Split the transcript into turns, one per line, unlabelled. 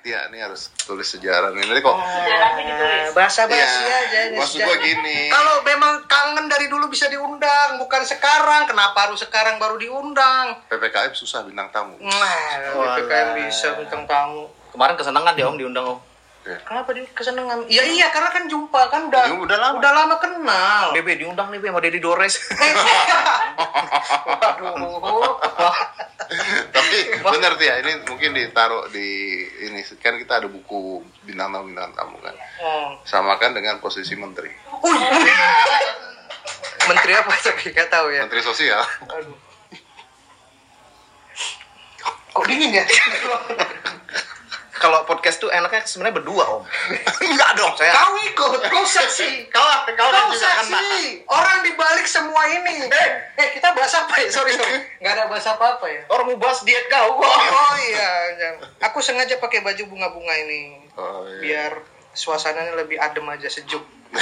Iya, ini harus tulis sejarah nih. Nanti kok
Sejarahnya ditulis.
bahasa
Oh. Iya,
basi aja ini
maksud
sejarah.
gua gini.
Kalau memang kangen dari dulu bisa diundang, bukan sekarang. Kenapa harus sekarang baru diundang?
PPKM susah bintang tamu.
Nah, PPKM bisa bintang tamu.
Kemarin kesenangan dia om diundang om.
Kenapa dia kesenangan? Ya iya, karena kan jumpa kan udah
Ya, udah lama.
udah lama kenal. Eh, iya.
Bebe diundang nih Bebe sama Deddy Dores.
Waduh.
Tapi bener Tia, ini mungkin ditaruh di ini kan kita ada buku bintang tamu bintang tamu kan.
Hmm.
Samakan dengan posisi menteri.
Uy, uy. Menteri apa tapi nggak tahu ya.
Menteri sosial.
Aduh. Kok dingin ya?
Kalau podcast tuh enaknya sebenarnya berdua om.
Enggak dong.
Saya
kau ikut, kau saksi.
Kau kau
Kau
juga kena.
saksi. Orang dibalik semua ini. Eh, kita bahas apa ya? Sorry, sorry. Nggak ada bahas apa-apa ya.
orang mau bahas diet kau kok.
Oh iya, jangan. aku sengaja pakai baju bunga-bunga ini
Oh, iya.
biar suasananya lebih adem aja sejuk.